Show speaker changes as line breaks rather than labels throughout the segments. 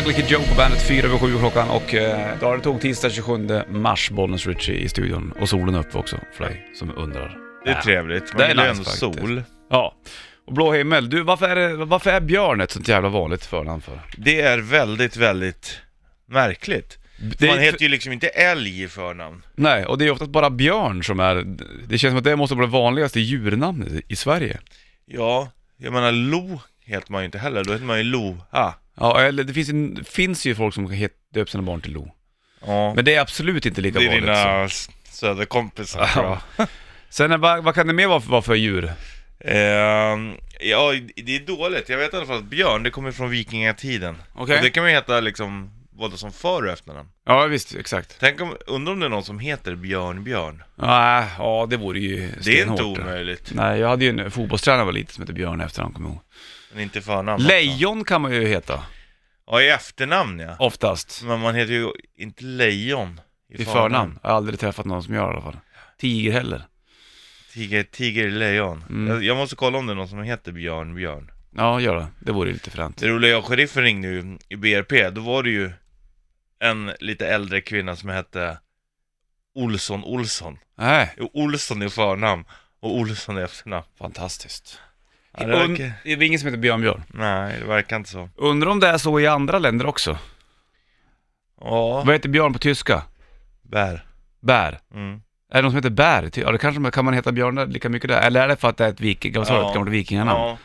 Ugly Kid Joe på bandet 4 över 7 klockan och eh, då är det tog tisdag 27 mars, Bollnäs Richie i studion. Och solen är uppe också för dig som undrar.
Det är trevligt. Man
Det är
vill ju
nice
ändå
faktiskt.
sol.
Ja, och blå himmel. Du, varför är, det- varför är björn ett sånt jävla vanligt förnamn för?
Det är väldigt, väldigt märkligt.
Det är,
Man heter ju liksom inte älg i förnamn.
Nej, och det är ofta bara björn som är... Det känns som att det måste vara det vanligaste djurnamnet i- i Sverige.
Ja, jag menar lo heter man ju inte heller. Då heter man ju loa.
Ja, eller det finns ju, finns ju folk som het- döper sina barn till Lo.
Ja,
Men det är absolut inte lika
det är
vanligt.
dina s- söderkompisar tror jag.
Ja. Sen, är- vad, vad kan det mer vara för, vara för djur?
Ehm, ja, det är dåligt. Jag vet i alla fall att björn, det kommer från vikingatiden.
Okej.
Och det kan man ju heta liksom både som för och efternamn.
Ja, visst, exakt.
Tänk om, undrar om det är någon som heter Björn Björn.
Nej, ja det vore ju
Det är inte
stenhårt,
omöjligt.
Nej, jag hade ju en fotbollstränare när jag var liten som hette Björn efter han kom ihåg.
Men inte i förnamn. alltså.
Lejon kan man ju heta,
Ja, i efternamn ja.
oftast.
Men man heter ju inte lejon
I förnamn. Jag har aldrig träffat någon som gör det i alla fall. Tiger heller.
Tiger, tiger lejon.
Mm.
Jag, jag måste kolla om det är någon som heter Björn Björn.
Ja, gör det. Det vore ju lite fränt.
Det roliga, jag och sheriffen ringde ju i BRP, då var det ju en lite äldre kvinna som hette Olsson Olsson.
Nej,
Jo, Olsson är förnamn och Olsson är efternamn.
fantastiskt.
Ja, det
Und,
verkar,
det är ingen som heter Björn Björn.
nej, det verkar inte så.
Undrar om det är så i andra länder också.
Ja,
Vad heter Björn på tyska?
bär.
Bär.
Mm.
Är det någon som heter Bär? Ty- Ja, det kanske man- kan man heta Björn där lika mycket där. Eller är det för att det är ett, viking, vad sa du,
Ja.
ett gammalt vikinganamn?
Ja,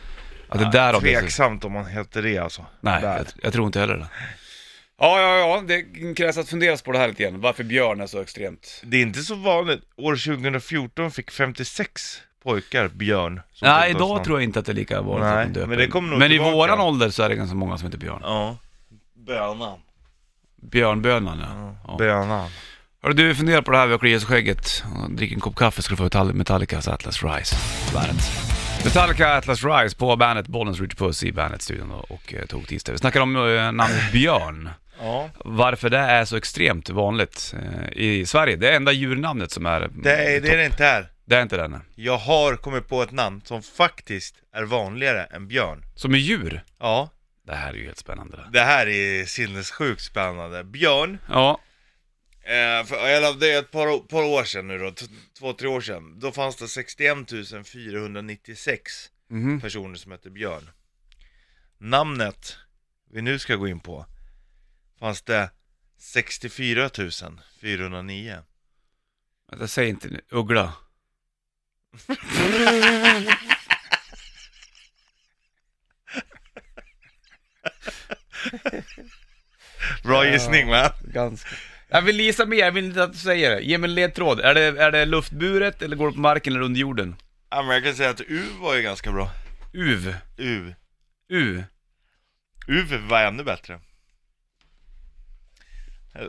Att det är därav det är så-
tveksamt om man heter det alltså.
Nej,
Bär.
jag, jag tror inte heller det. Ja, ja, ja, det krävs att funderas på det här lite grann. Varför Björn är så extremt...
Det är inte så vanligt. År 2014 fick 56 pojkar Björn. som
Nej,
sjukdomsnamn.
idag tror jag inte att det är lika vanligt
Nej,
att de döper.
men det kommer nog
men i
tillbaka.
våran ålder så är det ganska många som heter Björn.
Ja. Bönan.
Björnbönan, ja. ja.
Bönan.
Hörru du, funderar på det här med att klia sig i skägget. Och Drick en kopp kaffe ska du få Metalli- Metallicas Atlas Rise på bandet. Metallica Atlas Rise på bandet, Bollens Rich Puss i bandet-studion och, och eh, tog tisdag. Vi snackade om eh, namnet Björn.
Ja.
Varför det är så extremt vanligt eh, i Sverige. Det är enda djurnamnet som är...
Det är det, är det inte här.
Det är inte det, nej.
Jag har kommit på ett namn som faktiskt är vanligare än björn.
Som är djur.
Ja,
Det här är ju helt spännande. det.
det här är sinnessjukt spännande. Björn,
Ja,
eh, för, eller det är ett par, par år sedan nu då, t- två, tre år sedan. Då fanns det 61 496
mhm.
personer som hette Björn. Namnet vi nu ska gå in på fanns det 64 409.
Vänta, säg inte nu. Uggla.
Bra gissning va?
Ganska. Jag vill gissa mer, jag vill inte att du säger det. Ge mig en ledtråd. Är det, är det luftburet eller går det på marken eller under jorden?
Ja, men jag kan säga att U var ju ganska bra.
Uv.
U.
U.
Uv var ännu bättre.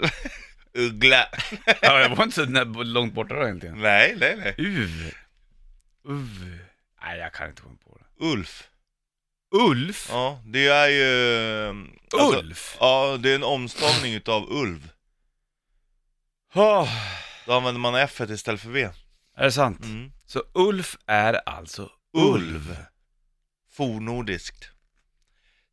Uggla.
Ja, jag var inte så nä- långt borta då egentligen.
nej, nej, nej.
Uv. Uv. Nej, jag kan inte komma på det.
Ulf.
Ulf?
Ja, det är ju... alltså-
Ulf?
Ja, det är en omstavning utav ulv.
Åh,
Då använder man F istället för V.
Ah. Är det sant?
Mm.
Så Ulf är alltså Ulv?
Fornordiskt.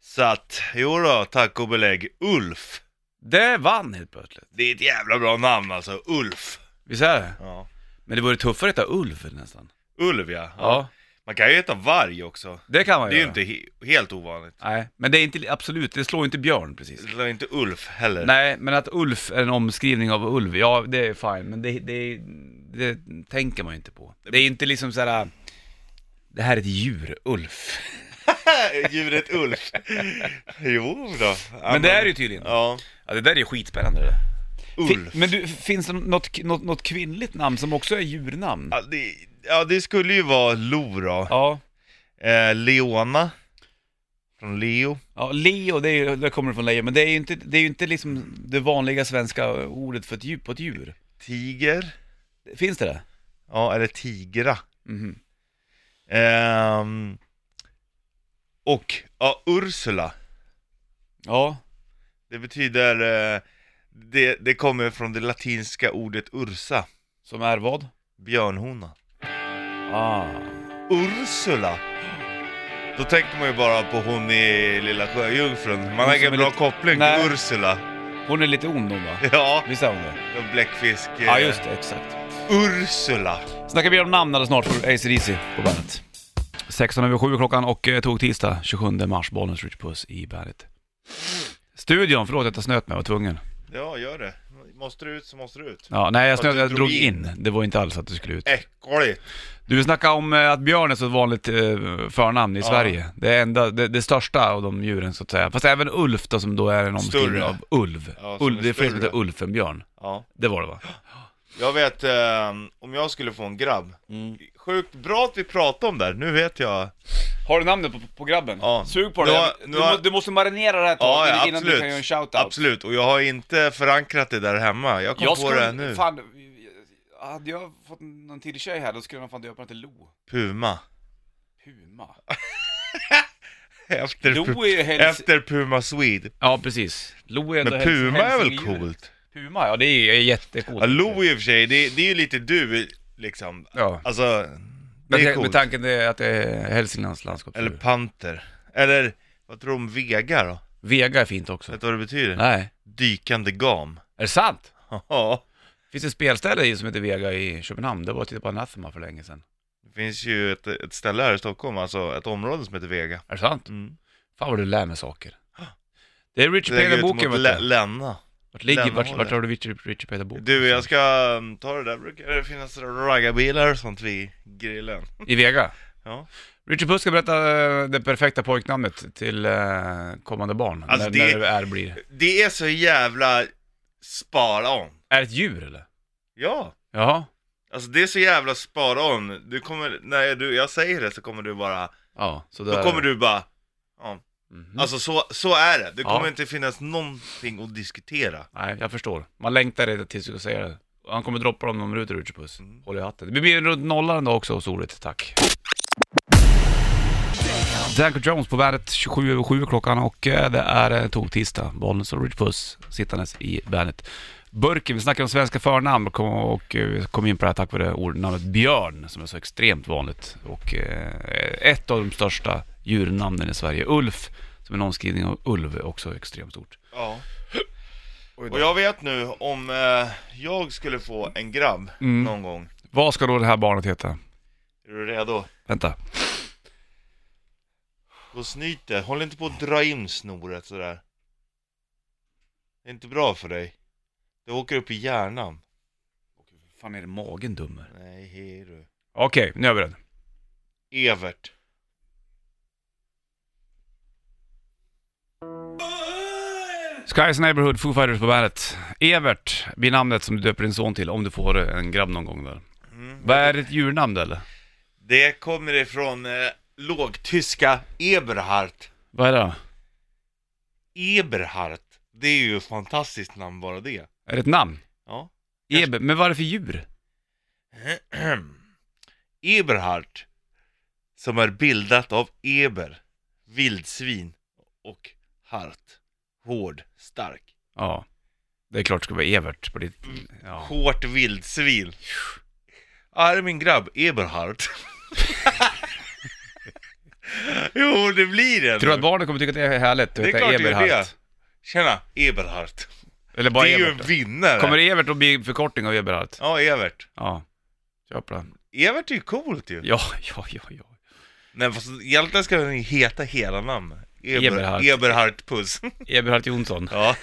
Så att, jo då, tack och belägg. Ulf.
Det vann helt plötsligt.
Det är ett jävla bra namn alltså, Ulf.
Visst är det?
Ja.
Men det vore tuffare att heta Ulf nästan.
Ulv ja. Man kan ju heta varg också.
Det kan man
Det är ju
göra.
inte he- helt ovanligt.
Nej, men det är inte, absolut, det slår ju inte björn precis.
Det är inte Ulf heller.
Nej, men att Ulf är en omskrivning av Ulv, ja det är fine, men det, det, det tänker man ju inte på. Det är inte liksom såhär, det här är ett djur, Ulf.
Djuret Ulf. jo då. Ja,
Men det är det ju tydligen.
Ja.
Ja, det där är ju skitspännande det.
Ulf.
Fi- Men du, finns det något, något, något kvinnligt namn som också är djurnamn?
Ja det, ja, det skulle ju vara Lo då.
Ja.
Eh, Leona. Från Leo.
Ja, Leo, det, är, ju- det kommer från lejon, men det är ju inte, det är ju inte liksom det vanliga svenska ordet för ett djur, på ett djur.
Tiger.
Finns det det?
Ja, eller Tigra.
Mhm.
Ehm, och, ja, Ursula.
Ja.
Det betyder, eh, det, det kommer från det latinska ordet ursa,
Som är vad?
björnhona.
Ah.
Ursula! Då tänker man ju bara på hon i Lilla Sjöjungfrun. Man har
som
ingen
är
bra
lite-
koppling
Nej.
till Ursula.
Hon är lite ond hon va?
Ja,
Visst är hon det?
en bläckfisk. eh,
Ja just det, exakt.
Ursula.
Snackar vi om namn alldeles snart för ACDC på bandet. 16 över 7 klockan och eh, tog tisdag 27 mars, Bollnäs Rich Puss i bandet. Studion, förlåt att jag snöt mig, jag var tvungen.
Ja, gör det. Måste du ut så måste du ut.
Ja, nej jag,
Fast du
snöt, jag
drog
drog
in.
in. Det var inte alls att du skulle ut.
Äckligt.
Du snackade om eh, att björn är så ett vanligt eh, förnamn i
Ja.
Sverige. Det, är enda, det, det största av de djuren så att säga. Fast även Ulf då, som då är en omskrivning
Större.
av ulv.
Ja, som
ulv
är
det är fler som
större.
heter Ulf än björn.
Ja.
Det var det va?
Jag vet, eh, om jag skulle få en grabb. Sjukt bra att vi pratar om det här. Nu vet jag.
Har du namnet på, på grabben?
Ja.
Sug på det.
Nu har-
Du
nu
må-
har-
Du måste marinera det här ett tag
Ja, ja
innan du
absolut.
kan göra en shoutout.
absolut. Och jag har inte förankrat det där hemma. Jag kom
Jag
på
skulle,
det här nu.
fan, hade jag fått någon till tjej här då skulle jag fan döpa den till Lo.
Puma.
Puma.
Efter,
Lo
pu
är ju helst...
efter Puma Swede.
Ja precis. Lo är ändå
Men
helst-
Puma är väl
hälsodjuret.
coolt?
Puma, ja det är är jättecoolt.
Ja, Lo i och för sig, det, det är ju lite du liksom.
Ja.
Alltså, det är
Med, med
coolt.
tanken det- att det är Hälsinglands landskap.
Eller panter. Eller, vad tror du om vega då?
Vega är fint också.
Vet du vad det betyder?
Nej.
Dykande gam.
Är det sant?
Ja.
Det finns ett spelställe i- som heter Vega i Köpenhamn. Det var att titta på Anathema för länge sedan.
Det finns ju ett, ett ställe här i Stockholm, alltså ett område som heter Vega.
Är det sant?
Mm.
Fan vad du lär mig saker. Det är Richard
Det ligger ut
Peder-boken
mot
vet
Lä-
du.
Länna.
Vart, ligger, vart,
Lennahålet.
vart har du Richard, Richard Peder-boken?
Du, jag ska mm, ta det där, brukar det finnas raggarbilar och sånt vid grillen.
I Vega?
Ja.
Richard Puss ska berätta eh, det perfekta pojknamnet till eh, kommande barn. när,
Alltså, det-
när det är blir.
Det är så jävla spara on.
Är det ett djur eller?
Ja.
Jaha.
Alltså det är så jävla spara on. Du kommer, när du, jag säger det så kommer du bara,
Ja, så
då kommer du bara, ja.
Mhm.
Alltså så, så är det. Det
Ja.
kommer inte finnas någonting att diskutera.
Nej, jag förstår. Man längtar redan tills du ska säga det. Han kommer droppa dem om rutor Puss.
Mm.
Håll i hatten. Det blir runt nollan då också hos ordet, tack. Danko Jones på bandet 27 över 7 klockan och eh, det är eh, tog-tisdag. Bollnäs och Rich Puss sittandes i bandet. Burken, vi snackar om svenska förnamn och kom- och eh, vi kom in på det här tack vare ordnamnet björn som är så extremt vanligt och eh, ett av de största djurnamnen i Sverige. Ulf, som är en omskrivning av ulv, är också extremt stort.
Ja. Och jag vet nu, om eh, jag skulle få en grabb
Mm.
någon gång,
Vad ska då det här barnet heta?
är du redo?
Vänta.
Gå och snyt det, håll inte på att dra in snoret sådär. Det är inte bra för dig. Det åker upp i hjärnan.
fan är det magen dummer?
Nej, hej du.
Okej, nu är vi den.
Evert.
Sky's Neighborhood, Foo Fighters på bandet. Evert blir namnet som du döper din son till om du får en grabb någon gång där.
Mm.
Vad är det ett djurnamn eller?
Det kommer ifrån eh, lågtyska Eberhardt.
Vad är det då?
Eberhardt. Det är ju ett fantastiskt namn bara det.
Är det ett namn?
Ja.
Eber, men vad är det för djur?
Eberhardt. Som är bildat av Eber. Vildsvin. Och hart. Hård. Stark.
Ja, det är klart det ska vara Evert på ditt...
Mm.
Ja.
Hårt vildsvin. Ja, här är min grabb, Eberhard. jo, det blir det.
Tror du att barnen kommer tycka att det är härligt att
Det är
heta
klart det gör
Eberhard?
det. Tjena, Eberhard.
Eller bara
Det är ju
Evert?
en
då?
vinnare.
Kommer Evert att bli en förkortning av Eberhard?
Ja, Evert.
Ja. Köp den.
Evert är ju coolt ju.
Ja, ja, ja, ja.
Nej, fast egentligen ska den ju heta hela namn.
Eberhard.
Eberhard. Eberhard Puss.
Eberhard Jonsson.
ja.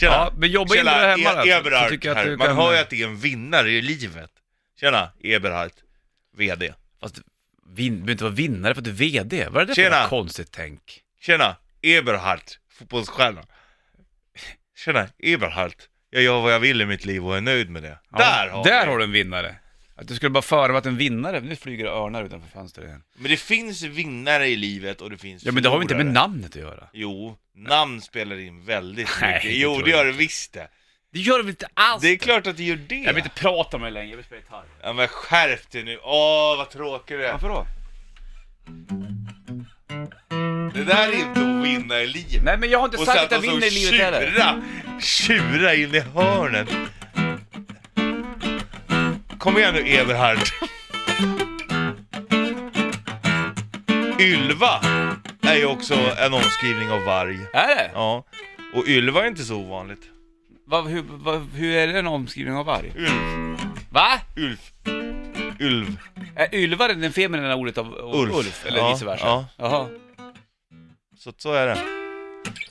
Tjena.
Ja, men jobba in det där hemma då, så-
e-
så
Eberhard
tycker jag att
här.
du
Man
kan-
hör ju att det är en vinnare i livet. Tjena, Eberhard. VD.
Fast vin, behöver inte vara vinnare för att du är VD. Vad är det
Tjena.
för konstigt tänk?
Tjena, Eberhardt, fotbollsstjärna. Tjena, Eberhardt. Jag gör vad jag vill i mitt liv och är nöjd med det.
Ja,
där har
där
vi.
har du en vinnare. Att du skulle bara förvarna en vinnare, nu flyger det örnar utanför fönstret igen.
Men det finns vinnare i livet och det finns
Ja men det har ju inte med
förlorare.
namnet att göra.
Jo, namn spelar in väldigt
Nej,
mycket.
det
jo,
tror
det
jag
gör det visst det.
Det gör det väl inte alls?
Det är klart att det gör det.
Jag vill inte prata med dig längre, jag vill spela gitarr.
Ja men skärp dig nu. Åh, vad tråkig du är.
Varför då?
Det där är inte att vinna i livet.
Nej men jag har inte sagt att jag
och så
vinner i livet heller.
tjura, tjura in i hörnet. Kom igen nu Eberhard. Ylva är ju också en omskrivning av varg.
Är det?
Ja. Och ylva är inte så ovanligt.
Va, hur, va, hur är det en omskrivning av varg?
Ulv,
Va?
ulv, ulv.
Är ylva det feminina ordet av av
Ulf.
Ulf? Eller
Ja,
vice versa?
ja.
Jaha.
Så, så är det.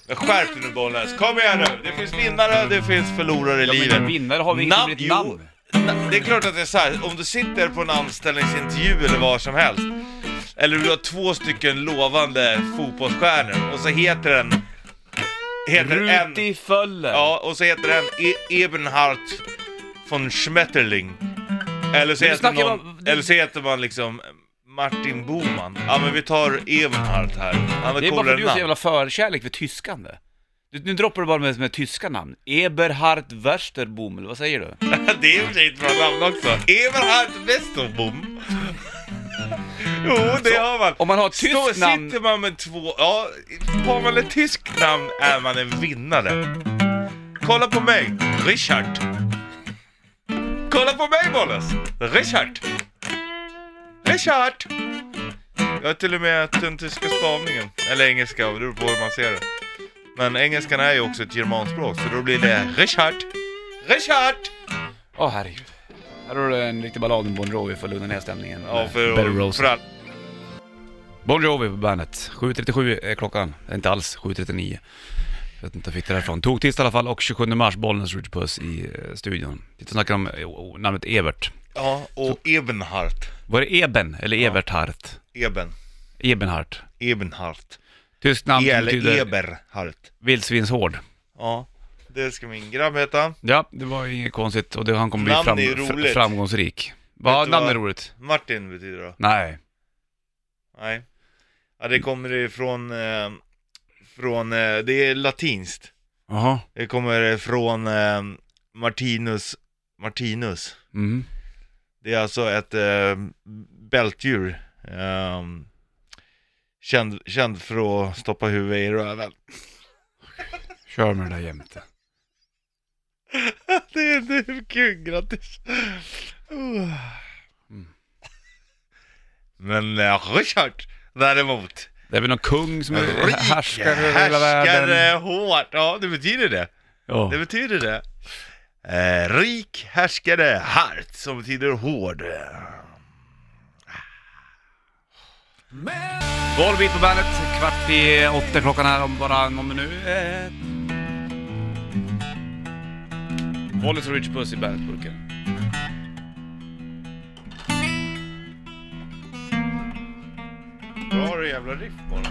Men Skärp dig nu Bollnäs, kom igen nu! Det finns vinnare, det finns förlorare i
Ja, men
livet.
vinnare har vi inte
Nam-
blivit
jo.
namn.
Na- Det är klart att det är så här. om du sitter på en anställningsintervju eller var som helst, eller du har två stycken lovande fotbollsstjärnor och så heter den... Heter en...
Ruti Föller.
Ja, och så heter den e- Ebenhard von Schmetterling. Eller så,
Men du
heter
snackar
någon,
bara-
eller så heter man liksom Martin Boman. Ja men vi tar Ebenhard här. Han
Det
är
är bara för
coolare
att du har så
namn.
jävla förkärlek för tyskande. Du, nu droppar du bara med, med tyska namn. Eberhard Wersterbom, eller vad säger du?
Det är ju för sig ett bra namn också. Eberhard Westerbom. jo, det har man.
Om man har ett tyskt
så
namn...
sitter man med två... Ja, har man ett tyskt namn är man en vinnare. Kolla på mig, Richard. Kolla på mig, Bolles. Richard. Richard. Jag har till och med den tyska stavningen. Eller engelska, det beror på hur man ser det. Men engelskan är ju också ett germanspråk, så då blir det Richard. Richard!
Åh herregud. Här har du en riktig ballad med Bon Jovi för att lugna ner stämningen.
Ja,
Better
för,
Roses.
för all...
Bon Jovi på bandet. 7.37 är klockan. Inte alls, 7.39. Jag vet inte var jag fick det därifrån. Tog tisdag i alla fall och 27 mars, Bollnäs Ridge Puss i eh, studion. Titta snackar om eh, o- namnet Evert.
Ja, och Ebenhart.
Var det Eben eller Everthart?
Eben.
Ebenhart.
Ebenhart.
Tyskt namn som
Eller
betyder
Eberhart.
vildsvinshård.
Ja, det ska min grabb heta.
Ja, det var inget konstigt och det, han kommer bli
Namn
fram,
är ju roligt.
fr- framgångsrik. Va,
Vet du
namn
vad?
är roligt.
Martin betyder det.
Nej.
Nej. Ja, det kommer ifrån... Eh, från... Eh, det är latinskt.
Jaha.
Det kommer från eh, Martinus... Martinus.
Mm.
Det är alltså ett eh, bältdjur. Eh, känd, känd för att stoppa huvudet i röven.
Kör med det där jämte.
det är, det är kul, grattis. Oh.
Mm.
Men eh, Richard däremot.
Det är väl någon kung som är
Rik,
härskare över hela världen.
härskare eh, hårt. Ja, det betyder det.
Ja.
Det betyder det. Eh, rik härskare hart, som betyder hård.
Volbeat på bandet, kvart i åtta klockan här om bara någon minut. Volleys och Rich Puss i bandetburken.
Bra jävla riff bara.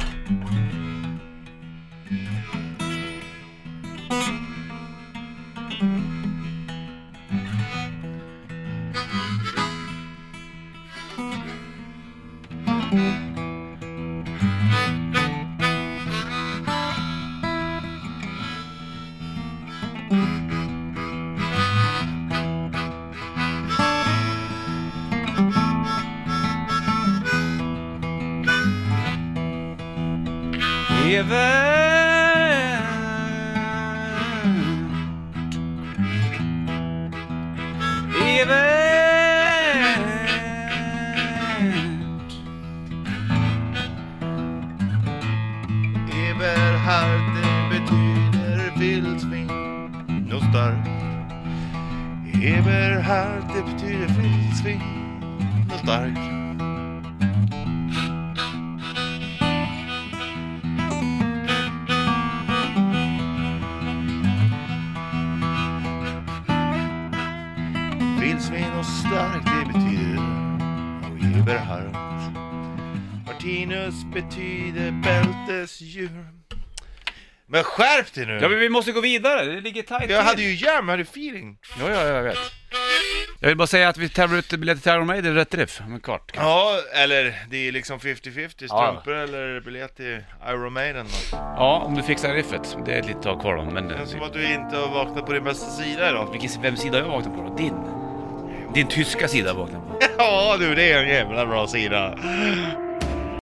Evert. Evert.
Eberhard det betyder vildsvin. Nostar. Eberhard det betyder vildsvin. Nostar. Vildsvin och stark det betyder och Eberhard. Martinus betyder bältesdjur. Men skärp dig nu!
Ja men vi måste gå vidare, det ligger tajt
Jag
till.
hade ju jam, jag hade feeling.
Ja, ja, jag vet. Jag vill bara säga att vi tävlar ut biljetter till Iron Maiden, rätt riff, om en kvart.
Ja, eller det är liksom 50-50
Ja.
strumpor eller biljett till Iron Maiden.
Ja, om du fixar riffet. Det är ett litet tag kvar då, men...
Det är som att du inte har vaknat på din bästa sida idag.
Vilken, vem sida har jag vaknat på då? Din? Din tyska sida har jag vaknat på.
Ja du, det är en jävla bra sida.